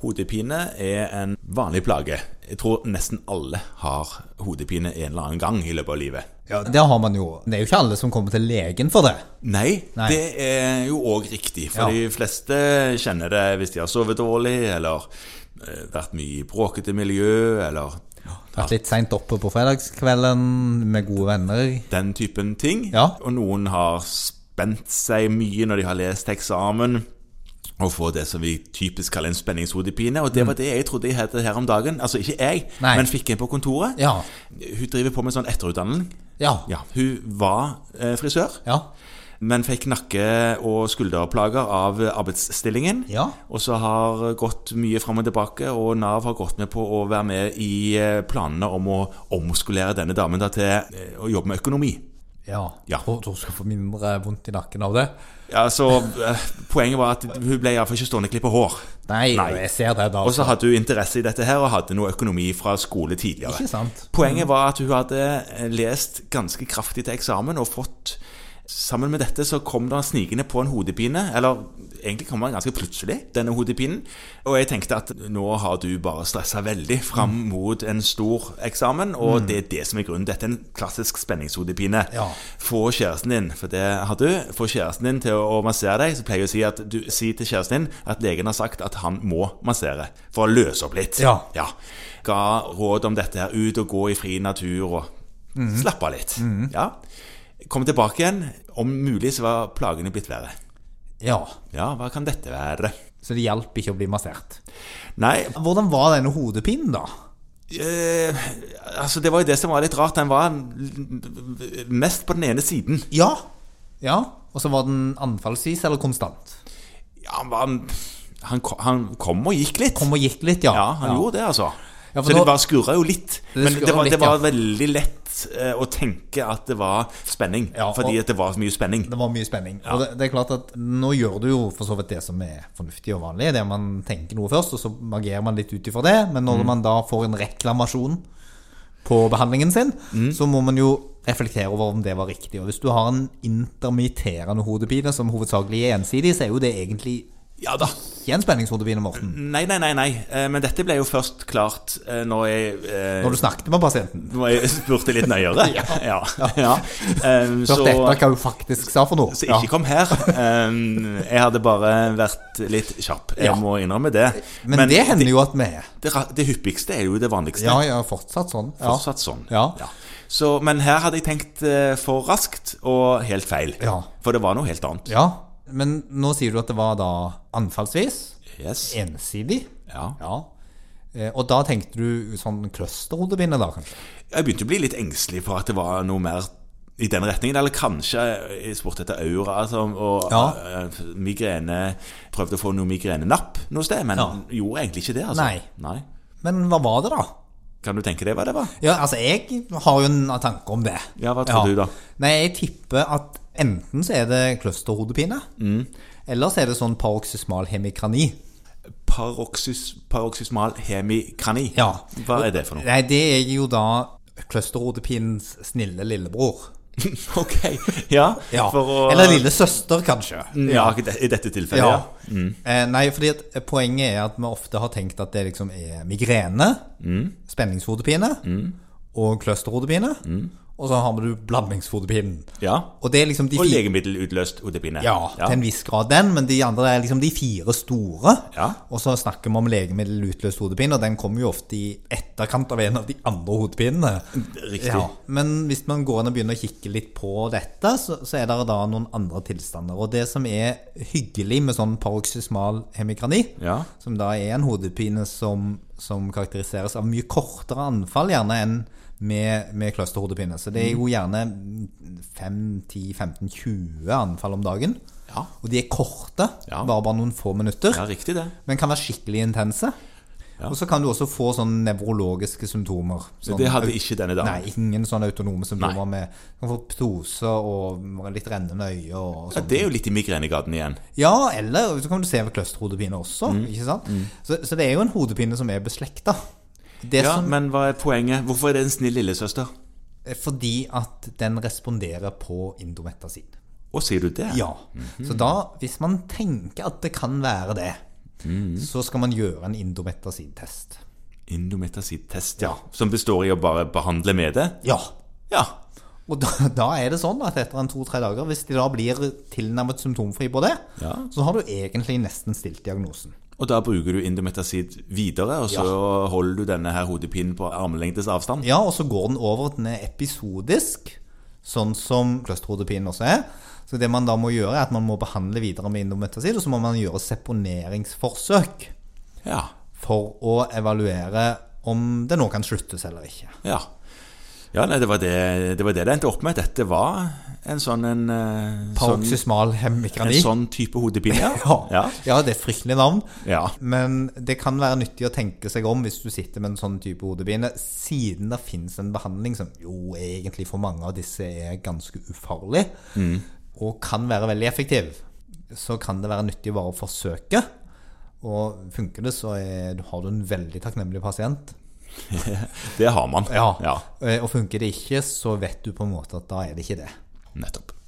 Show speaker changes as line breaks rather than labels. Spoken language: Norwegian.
Hodepine er en vanlig plage. Jeg tror nesten alle har hodepine en eller annen gang i løpet av livet.
Ja, det har man jo. Det er jo ikke alle som kommer til legen for det.
Nei,
Nei.
det er jo òg riktig. For
Ja.
de fleste kjenner det hvis de har sovet dårlig, eller eh, vært mye i bråkete miljø, eller
Vært litt seint oppe på fredagskvelden med gode venner.
den typen ting.
Ja.
Og noen har spent seg mye når de har lest eksamen. Og får det som vi typisk kaller en spenningshodepine. Og det var det jeg trodde jeg hadde her om dagen. Altså ikke jeg,
Mm. Nei.
men fikk en på kontoret.
Ja.
Hun driver på med sånn etterutdanning.
Ja.
Ja, Hun var eh, frisør,
Ja.
men fikk nakke- og skulderplager av arbeidsstillingen.
Ja.
Og så har gått mye fram og tilbake, og Nav har gått med på å være med i eh, planene om å omskolere denne damen da til eh, å jobbe med økonomi.
ja.
Ja.
Tror tror du skal få mindre vondt i nakken av det.
Ja, så eh, Poenget var at hun ble iallfall ikke stående og klippe hår.
Nei,
Nei.
jeg ser det, da.
Og så hadde hun interesse i dette her, og hadde noe økonomi fra skole tidligere.
Ikke sant?
Poenget var at hun hadde eh, lest ganske kraftig til eksamen og fått Sammen med dette så kom det snikende på en hodepine, eller egentlig kom den ganske plutselig, denne hodepinen. Og jeg tenkte at nå har du bare stressa veldig fram mot en stor eksamen, og det er det som er grunnen. Dette er en klassisk spenningshodepine.
Ja.
Få kjæresten din, for det har du, få kjæresten din til å massere deg. Så pleier jeg å si, at du, si til kjæresten din at legen har sagt at han må massere, for å løse opp litt.
Ja.
Ja. Ga råd om dette her. Ut og gå i fri natur og slappe av litt.
Mhm.
Ja. Kom tilbake igjen. Om mulig så var plagene blitt verre.
Ja.
Ja, hva kan dette være?
Så det hjalp ikke å bli massert.
Nei,
Hvordan var denne hodepinen, da?
eh, altså det var jo det som var litt rart. Den var l- mest på den ene siden.
Ja. Ja. Og så var den anfallsvis eller konstant?
Ja, han, var- han, ko- han kom og gikk litt.
Kom og gikk litt, ja.
Ja, han gjorde det, altså.
Ja, for
så
da-
det bare skurra jo litt.
Det
Men det
skurret
var,
litt,
det var veldig lett eh, å tenke at det var spenning.
Ja, og-
fordi at det var så mye spenning.
Det var mye spenning. Og det, det er klart at nå gjør du jo for så vidt det som er fornuftig og vanlig. Det er man tenker noe først, og så agerer man litt ut ifra det. Men når
Mm.
man da får en reklamasjon på behandlingen sin,
Mm.
så må man jo reflektere over om det var riktig. Og hvis du har en intermitterende hodepine som hovedsakelig er ensidig, så er jo det egentlig
Ja da.
ikke en spenningshodepine, Morten.
Nei, nei, nei, nei. Eh, Men dette ble jo først klart eh, når jeg, eh,
Når du snakket med pasienten.
når jeg spurte litt nøyere. ja. ja. Um,
Hørt
så,
etter hva hun faktisk sa for noe.
så ikke kom her. Um, jeg hadde bare vært litt kjapp. Jeg
Ja.
må innrømme det.
Men, det hender jo at vi er.
det, ra- det hyppigste er jo det vanligste.
Ja, ja, fortsatt sånn. Ja.
Fortsatt sånn.
Ja.
Så, men her hadde jeg tenkt eh, for raskt og helt feil.
Ja.
For det var noe helt annet.
ja. Men nå sier du at det var da anfallsvis.
Yes.
Ensidig?
Ja.
Ja. Eh, Og da tenkte du sånn clusterhodepine, da, kanskje?
Jeg begynte å bli litt engstelig for at det var noe mer i den retningen. Eller kanskje jeg spurte etter aura altså, og
Ja.
eh, migrene Prøvde å få noe migrenenapp noe sted, men
Ja.
gjorde egentlig ikke det. Altså.
Nei. Men hva var det, da?
Kan du tenke deg hva det var?
Ja, altså, jeg har jo en tanke om det.
Ja, hva tror du da?
Nei, jeg tipper at enten så er det clusterhodepine,
Mm.
eller så er det sånn paroxysmal hemikrani.
Paroxys, paroxysmal hemikrani.
Ja.
Hva er det for noe?
Nei, det er jo da clusterhodepinens snille lillebror.
ok, ja.
Ja.
For å
Eller lille søster, kanskje.
Ja, i det- i dette tilfellet. Ja.
Ja.
Mm.
Eh, Nei, fordi at poenget er at vi ofte har tenkt at det liksom er migrene,
Mm.
spenningshodepine og clusterhodepine. Og så har vi du blandingshodepinen.
Mm. ja.
Og det er liksom de
Og
fire
legemiddelutløst hodepine.
ja, til en viss grad den, men de andre er liksom de fire store.
Ja.
Og så snakker vi om legemiddelutløst hodepine, og den kommer jo ofte i etterkant av en av de andre hodepinene.
Riktig.
Ja, men hvis man går inn og begynner å kikke litt på dette, så, så er det da noen andre tilstander. Og det som er hyggelig med sånn paroxysmal hemikrani,
Ja.
som da er en hodepine som, som karakteriseres av mye kortere anfall gjerne enn med, med clusterhodepine. Så det er
Mm.
jo gjerne 5-10-15-20 anfall om dagen.
Ja.
Og de er korte,
Ja.
bare bare noen få minutter
ja, riktig det.
men kan være skikkelig intense.
Ja.
Og så kan du også få sånne nevrologiske symptomer. Sånn,
Det hadde ikke denne damen.
Nei, ingen sånne autonome symptomer med du kan få ptose og litt rennende øye og
Ja,
sånn.
det er jo litt i migrenegaten igjen.
Ja, eller så kan du se ved kløsterhodepine også.
Mm.
ikke sant? Så, så det er jo en hodepine som er beslekta. Det
Ja,
som,
Men hva er poenget? Hvorfor er det en snill lillesøster?
fordi at den responderer på indometasin.
Å, sier du det?
Ja. Så da, hvis man tenker at det kan være det,
Mhm.
så skal man gjøre en indometasid-test.
Indometacid-test, ja. Som består i å bare behandle med det?
Ja.
Ja.
Og da, da er det sånn at etter en to-tre dager, hvis de da blir tilnærmet symptomfri på det,
Ja.
så har du egentlig nesten stilt diagnosen.
Og da bruker du indometacid videre, og så holder du denne her hodepinen på armlengdes avstand?
Ja, og så går den over til den er episodisk, sånn som kløsterhodepinen også er. Så det man da må gjøre, er at man må behandle videre med indometasid, og så må man gjøre seponeringsforsøk
Ja.
for å evaluere om det nå kan sluttes eller ikke.
Ja, ja nei, det, var det, det var det det endte opp med. Dette var en sånn en, eh, sånn,
Paroxysmal
en
hemikrani.
sånn type hodepine.
Ja.
Ja.
ja, det er et fryktelig navn.
Ja.
Men det kan være nyttig å tenke seg om hvis du sitter med en sånn type hodepine, siden det finnes en behandling som jo egentlig for mange av disse er ganske ufarlig,
Mm.
og kan være veldig effektiv. Så kan det være nyttig å bare å forsøke. Og funker det, så er, har du en veldig takknemlig pasient.
Det har man.
Eh, Og funker det ikke, så vet du på en måte at da er det ikke det.
Nettopp.